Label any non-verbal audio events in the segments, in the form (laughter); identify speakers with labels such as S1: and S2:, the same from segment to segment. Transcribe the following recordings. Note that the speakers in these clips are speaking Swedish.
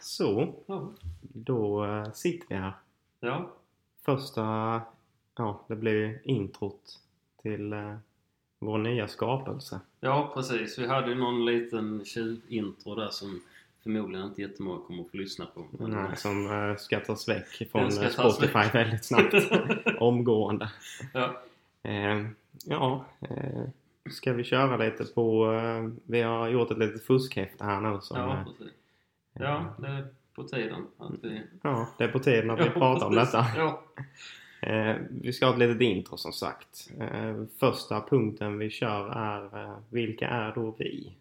S1: Så,
S2: Ja.
S1: då eh, sitter vi här.
S2: ja.
S1: Första, ja det blir introt till eh, vår nya skapelse.
S2: Ja, precis. Vi hade ju någon liten tjuvintro där som förmodligen inte jättemånga kommer att få lyssna på. Men,
S1: Mm.
S2: (laughs)
S1: Som eh, ska tas väck från
S2: Den ska
S1: eh,
S2: tas
S1: Spotify
S2: väck.
S1: väldigt
S2: (laughs)
S1: snabbt. Omgående.
S2: ja.
S1: Eh, ja, eh, ska vi köra lite på... Eh, vi har gjort ett litet fuskhäfte här nu som... eh,
S2: ja, precis. Ja, det är på tiden att vi...
S1: ja, det är på tiden att vi
S2: Ja,
S1: pratar om
S2: precis.
S1: detta.
S2: Ja.
S1: Eh, vi ska ha ett litet intro som sagt. Eh, första punkten vi kör är eh, Vilka är då vi?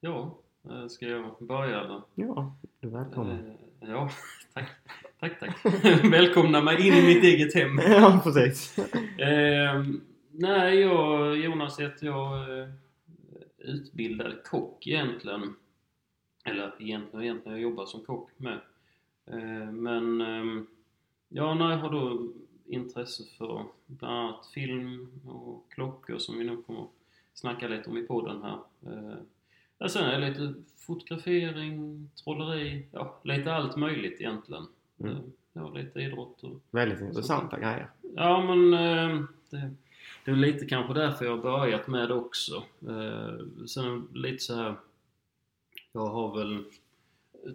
S2: ja, eh, ska jag börja eller?
S1: Ja, du är välkommen.
S2: Eh, Ja, (laughs) tack. Tack, tack. (laughs) Välkomna mig in i mitt eget hem.
S1: (laughs) ja, precis.
S2: Ehm, nej, jag, Jonas heter jag. eh, Utbildad kock egentligen. Eller egentligen, egentligen jag jobbar som kock med. Eh, men ehm, ja, nej, jag har då intresse för bland annat film och klockor som vi nog kommer att snacka lite om i podden här. Eh, ja, sen är det lite fotografering, trolleri, ja lite allt möjligt egentligen.
S1: Mm.
S2: Eh, Ja, lite idrott och
S1: Väldigt intressanta grejer.
S2: Ja, men eh, det, det är väl lite kanske därför jag har börjat med det också. Eh, Sen lite så här. Jag har väl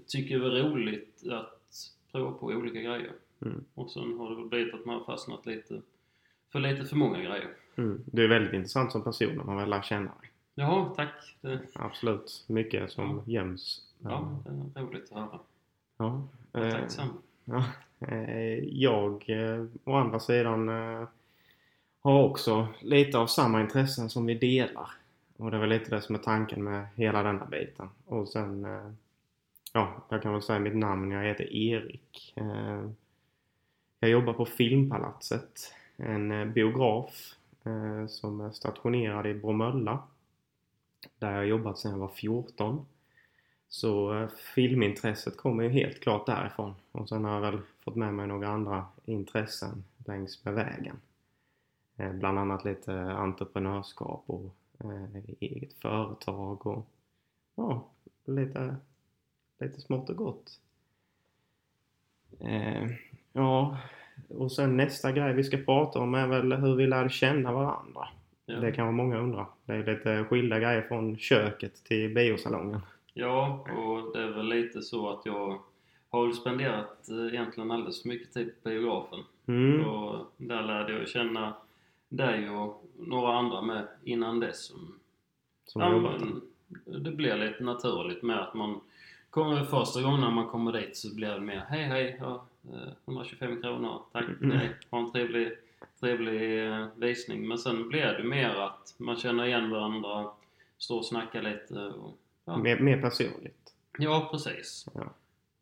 S2: tycker det är roligt att prova på olika grejer.
S1: Mm.
S2: Och sen har det väl blivit att man har fastnat lite för lite för många grejer.
S1: Mm. Du är väldigt intressant som person när man väl lär känna dig.
S2: Jaha, tack. Det,
S1: Absolut. Mycket som göms.
S2: ja, det är roligt att höra.
S1: ja.
S2: Jag är
S1: Eh,
S2: tacksam.
S1: Ja, eh, jag eh, å andra sidan eh, har också lite av samma intressen som vi delar. Och det var lite det som är tanken med hela denna biten. Och sen, eh, ja, jag kan väl säga mitt namn. Jag heter Erik. Eh, Jag jobbar på Filmpalatset, en eh, biograf eh, som är stationerad i Bromölla. Där jag har jobbat sedan jag var 14. Så eh, filmintresset kommer ju helt klart därifrån. Och sen har jag väl fått med mig några andra intressen längs med vägen. Eh, Bland annat lite entreprenörskap och eh, eget företag och ja, lite, lite smått och gott. Eh, Ja, och sen nästa grej vi ska prata om är väl hur vi lär känna varandra.
S2: Ja.
S1: Det kan vara många undrar. Det är lite skilda grejer från köket till biosalongen.
S2: Ja, och det är väl lite så att jag har väl spenderat eh, egentligen alldeles för mycket tid på biografen.
S1: Mm.
S2: Och där lärde jag känna dig och några andra med innan dess. Som,
S1: Som
S2: Ja,
S1: har jobbat där.
S2: men det blev lite naturligt med att man kommer första gången när man kommer dit så blir det mer hej hej, ja, eh, 125 kronor, tack
S1: Mm.
S2: nej, ha en trevlig, trevlig eh, visning. Men sen blev det mer att man känner igen varandra, står och snackar lite och ja.
S1: Mer, mer personligt.
S2: Ja, precis.
S1: Ja.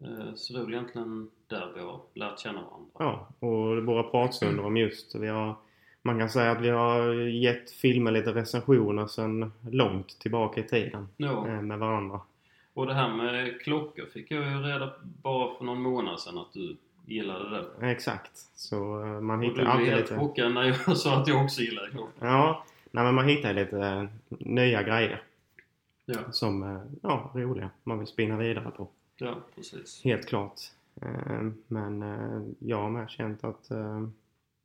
S2: Eh, Så det är väl egentligen där vi har lärt känna varandra.
S1: Ja, och våra pratstunder om just vi har, Man kan säga att vi har gett filmer lite recensioner sedan långt tillbaka i tiden
S2: Ja.
S1: eh, med varandra.
S2: Och det här med klockor fick jag ju reda på bara för någon månad sedan att du gillade det.
S1: Exakt. Så eh, man
S2: Och
S1: hittar
S2: du blev
S1: alltid
S2: helt
S1: lite...
S2: chockad när jag (laughs) sa att jag också gillade klockor.
S1: Ja, nej, men man hittar lite eh, nya grejer
S2: Ja,
S1: som eh, ja, roliga. Man vill spinna vidare på.
S2: ja precis.
S1: Helt klart. Eh, Men eh, jag har med känt att eh,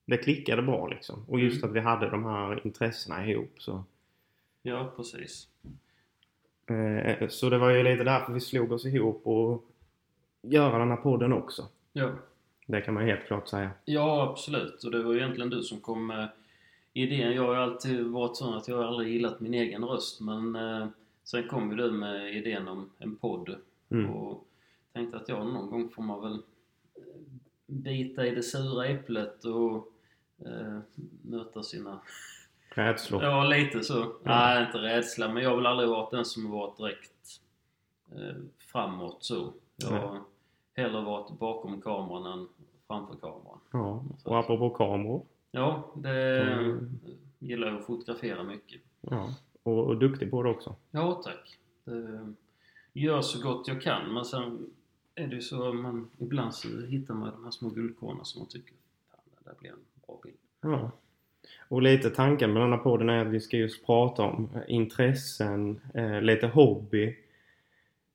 S1: det klickade bra liksom. Och just
S2: Mm.
S1: att vi hade de här intressena ihop så...
S2: Ja, precis.
S1: Eh, Så det var ju lite därför vi slog oss ihop och göra den här podden också.
S2: Ja.
S1: Det kan man ju helt klart säga.
S2: ja, absolut. Och det var ju egentligen du som kom med idén. Jag har ju alltid varit sån att jag har aldrig gillat min egen röst. Men eh, sen kom ju du med idén om en podd.
S1: Mm.
S2: Och tänkte att ja, någon gång får man väl eh, bita i det sura äpplet och eh, möta sina
S1: Rädslor.
S2: Ja, lite så. Nej, inte rädsla, men jag har väl aldrig varit den som har varit direkt eh, framåt så. Jag har hellre varit bakom kameran än framför kameran.
S1: Ja. Och apropå kameror.
S2: Ja, det
S1: Mm.
S2: gillar jag att fotografera mycket.
S1: Ja. Och, och duktig på det också.
S2: Ja, tack. Det gör så gott jag kan, men sen är det ju så att man ibland så hittar man de här små guldkornen som man tycker, fan, det där blir en bra bild.
S1: Ja. Och lite tanken med den här podden är att vi ska just prata om intressen, eh, lite eh, hobby.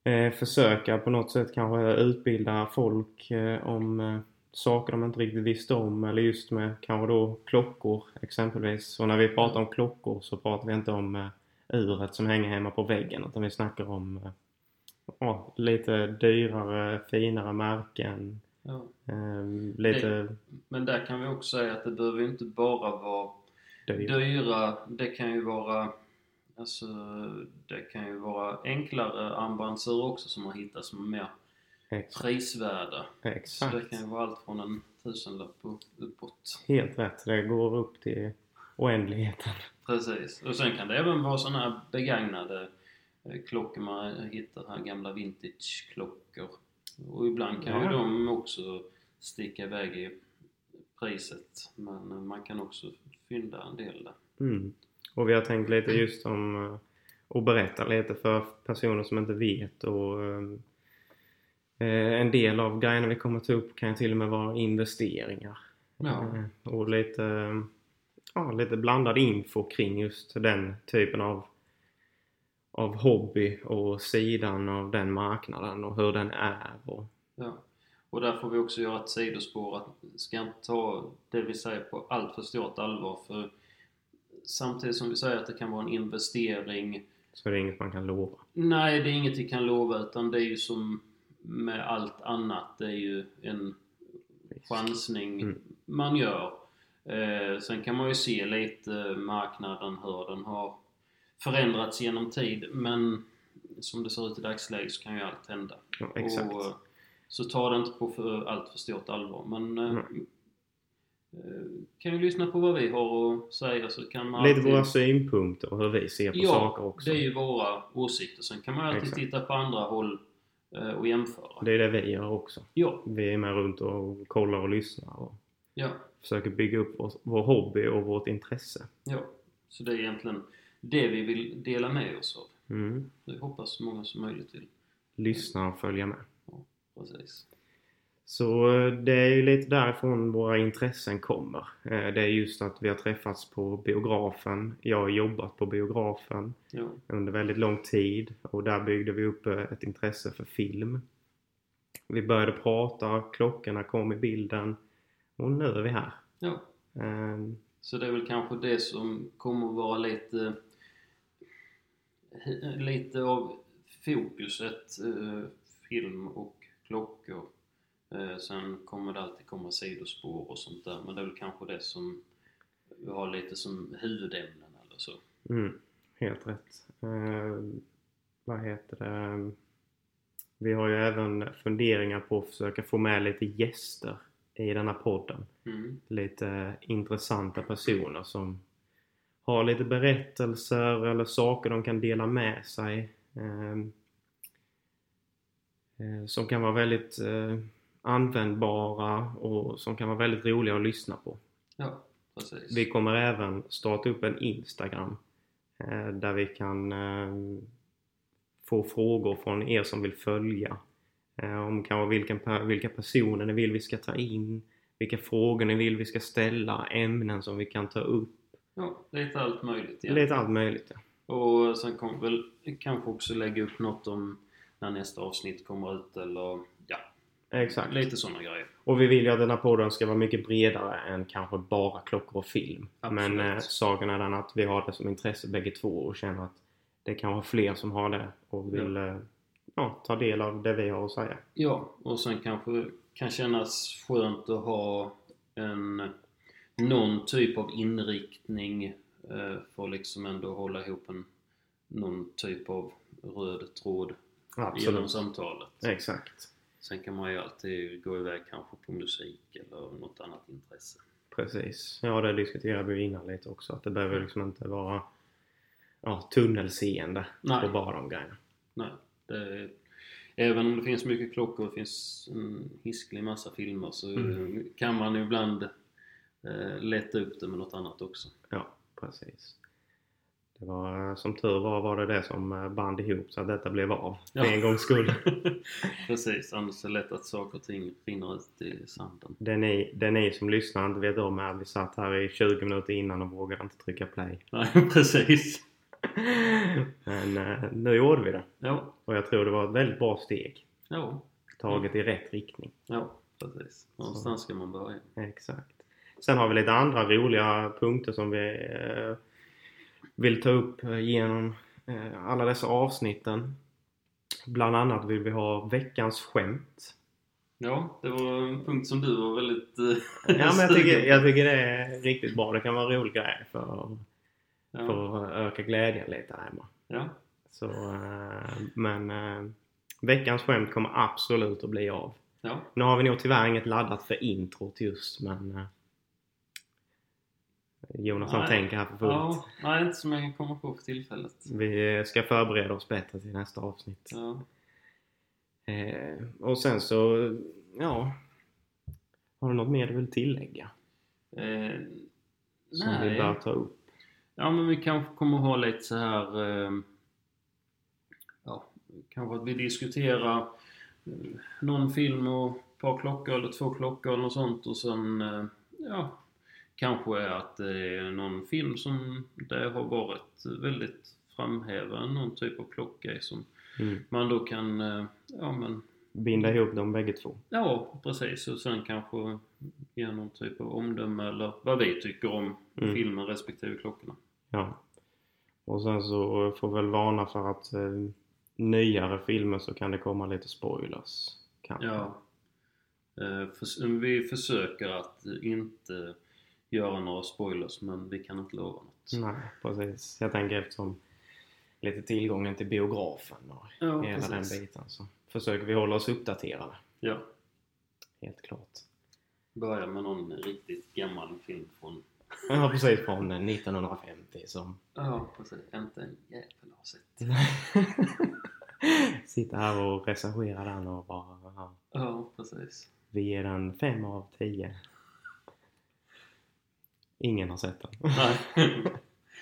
S1: eh, försöka på något sätt kanske utbilda folk eh, om eh, saker de inte riktigt visste om eller just med kanske då klockor exempelvis. Och när vi pratar om klockor så pratar vi inte om eh, uret som hänger hemma på väggen utan vi snackar om eh, ja, lite dyrare, finare märken.
S2: Ja.
S1: Eh, lite
S2: Men där kan vi också säga att det behöver ju inte bara vara
S1: dyrare.
S2: dyra. Det kan ju vara alltså, det kan ju vara enklare armbandsur också som man hittar som är mer
S1: Ex-
S2: prisvärda. Så det
S1: Exakt.
S2: kan ju vara allt från en tusenlapp upp- uppåt.
S1: Helt rätt. Det går upp till oändligheten.
S2: Precis. Och sen kan det även vara sådana här begagnade eh, klockor man hittar här, gamla vintageklockor. Och ibland kan
S1: Ja.
S2: ju de också sticka iväg i priset. Men eh, man kan också fynda en del där.
S1: Mm. Och vi har tänkt lite just om eh, att berätta lite för personer som inte vet och ehm, eh, en del av grejerna vi kommer ta upp kan ju till och med vara investeringar.
S2: Ja.
S1: Eh, Och lite, eh, ja, lite blandad info kring just den typen av, av hobby och sidan av den marknaden och hur den är. Och,
S2: Ja. Och där får vi också göra ett sidospår att ska inte ta det vi säger på allt för stort allvar för samtidigt som vi säger att det kan vara en investering
S1: så det är inget man kan lova.
S2: Nej, det är inget vi kan lova utan det är ju som med allt annat. Det är ju en chansning
S1: Mm.
S2: man gör. Eh, sen kan man ju se lite marknaden, hur den har förändrats genom tid. Men som det ser ut i dagsläget så kan ju allt hända.
S1: Ja, exakt.
S2: Och, eh, så ta det inte på för, allt för stort allvar. Men eh,
S1: Mm.
S2: eh, kan ju lyssna på vad vi har att säga så kan man
S1: Lite
S2: alltid-
S1: våra synpunkter och hur vi ser på
S2: Ja,
S1: saker också.
S2: det är ju våra åsikter. Sen kan man alltid
S1: Exakt.
S2: titta på andra håll eh, och jämföra.
S1: Det är det vi gör också.
S2: Ja,
S1: Vi är med runt och kollar och lyssnar och
S2: ja,
S1: försöker bygga upp vår, vår hobby och vårt intresse.
S2: ja. Så det är egentligen det vi vill dela med oss av.
S1: Mm.
S2: Det hoppas så många som möjligt vill.
S1: Lyssna och följa med.
S2: Precis.
S1: Så eh, det är ju lite därifrån våra intressen kommer. Eh, Det är just att vi har träffats på biografen. Jag har jobbat på biografen
S2: Ja,
S1: under väldigt lång tid och där byggde vi upp eh, ett intresse för film. Vi började prata, klockorna kom i bilden och nu är vi här.
S2: ja.
S1: Eh,
S2: Så det är väl kanske det som kommer att vara lite lite av fokuset eh, film och klockor. Eh, sen kommer det alltid komma sidospår och sånt där men det är väl kanske det som vi har lite som huvudämnen eller så.
S1: Mm, helt rätt. Eh, vad heter det? Vi har ju även funderingar på att försöka få med lite gäster i den här podden.
S2: Mm.
S1: Lite intressanta personer som har lite berättelser eller saker de kan dela med sig. Eh, eh, som kan vara väldigt eh, användbara och som kan vara väldigt roliga att lyssna på.
S2: Ja, precis.
S1: Vi kommer även starta upp en Instagram eh, där vi kan eh, få frågor från er som vill följa. Eh, om kanske vilken, per- vilka personer ni vill vi ska ta in, vilka frågor ni vill vi ska ställa, ämnen som vi kan ta upp.
S2: Ja, lite allt möjligt igen.
S1: Lite allt möjligt. ja.
S2: Och sen kommer väl kanske också lägga upp något om när nästa avsnitt kommer ut eller ja,
S1: Exakt.
S2: lite sådana grejer.
S1: Och vi vill ju att den här podden ska vara mycket bredare än kanske bara klockor och film.
S2: Absolut.
S1: Men eh, saken är den att vi har det som intresse bägge två och känner att det kan vara fler som har det och vill eh, ja, ta del av det vi har att säga.
S2: Ja, och sen kanske kan kännas skönt att ha en, någon typ av inriktning eh, för att liksom ändå hålla ihop en, någon typ av röd tråd genom samtalet.
S1: Exakt.
S2: Sen kan man ju alltid gå iväg kanske på musik eller något annat intresse.
S1: Precis. Ja, det diskuterade vi innan lite också. Att det behöver
S2: Mm.
S1: liksom inte vara ja, tunnelseende
S2: Nej.
S1: på bara de grejerna.
S2: Nej, det är, även om det finns mycket klockor och det finns en hisklig massa filmer så
S1: Mm.
S2: kan man ibland eh, leta upp det med något annat också.
S1: Ja, precis. Det var, eh, som tur var var det det som eh, band ihop så att detta blev av.
S2: Ja.
S1: För en gångs
S2: (laughs)
S1: skull.
S2: Precis, annars är det lätt att saker och ting rinner ut i sanden. (laughs)
S1: Det ni, det ni som lyssnar eh, inte vet om är att vi satt här i 20 minuter innan och vågade inte trycka play.
S2: Nej, precis.
S1: Men eh, nu gjorde vi det.
S2: Ja,
S1: Och jag tror det var ett väldigt bra steg.
S2: ja,
S1: Taget i rätt riktning.
S2: ja precis. Någonstans ska man börja.
S1: Exakt. Sen har vi lite andra roliga punkter som vi eh, vill ta upp eh, genom eh, alla dessa avsnitten. Bland annat vill vi ha veckans skämt.
S2: Ja, det var en punkt som du var väldigt eh,
S1: Ja, men jag,
S2: sugen
S1: tycker,
S2: på.
S1: jag tycker det är riktigt bra. Det kan vara en rolig grej för,
S2: Ja,
S1: för att eh, öka glädjen lite hemma.
S2: ja,
S1: Så, eh, men eh, veckans skämt kommer absolut att bli av.
S2: ja,
S1: Nu har vi nog tyvärr inget laddat för introt just men eh, Jonas han
S2: Nej.
S1: tänker här för fullt.
S2: ja. Nej, inte som jag kan komma på för tillfället.
S1: Vi eh, ska förbereda oss bättre till nästa avsnitt.
S2: Ja,
S1: Eh, och sen så, ja. Har du något mer du vill tillägga?
S2: eh,
S1: Som vi bör
S2: nej.
S1: ta upp?
S2: Ja, men vi kanske kommer ha lite så här... Eh, ja, kanske att vi diskuterar eh, någon film och ett par klockor eller två klockor eller något sånt och sen... Eh, ja, kanske att det är någon film som det har varit väldigt framhävande, någon typ av klocka i som
S1: Mm.
S2: man då kan... Eh, ja, men...
S1: Binda ihop dem bägge två.
S2: Ja, precis. Och sen kanske ge någon typ av omdöme eller vad vi tycker om
S1: Mm.
S2: filmen respektive klockorna.
S1: Ja. Och sen så får väl varna för att eh, nyare filmer så kan det komma lite spoilers. Kanske.
S2: Ja. Eh, förs- Vi försöker att inte göra några spoilers men vi kan inte lova något.
S1: Nej, precis. Jag tänker eftersom lite tillgången till biografen och
S2: Ja,
S1: hela den
S2: precis.
S1: biten så försöker vi hålla oss uppdaterade.
S2: Ja.
S1: Helt klart.
S2: Börja med någon riktigt gammal film från...
S1: Ja, precis. Från 1950 som (laughs)
S2: Ja, precis. Inte en jävel har sett.
S1: sitter här och recenserar den och bara ja,
S2: Ja, precis.
S1: vi ger den 5 av 10. Ingen har sett den.
S2: Nej.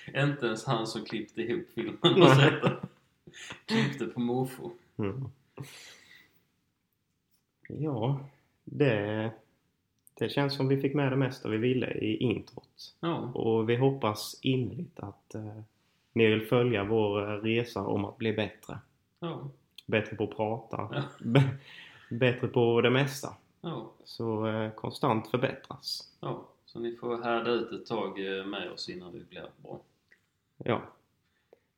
S2: (laughs) inte ens han som klippte ihop filmen har sett den. Klippte på måfå.
S1: Mm. Ja, det, det känns som vi fick med det mesta vi ville i introt.
S2: Ja.
S1: Och vi hoppas innerligt att eh, ni vill följa vår eh, resa om att bli bättre.
S2: Ja.
S1: Bättre på att prata.
S2: Ja.
S1: B- bättre på det mesta.
S2: Ja.
S1: Så eh, konstant förbättras.
S2: ja. Så ni får härda ut ett tag eh, med oss innan vi blir bra.
S1: Ja.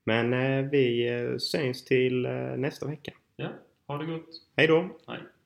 S1: Men eh, vi eh, syns till eh, nästa vecka.
S2: Ja, ha det gott.
S1: Hej då!
S2: Hej.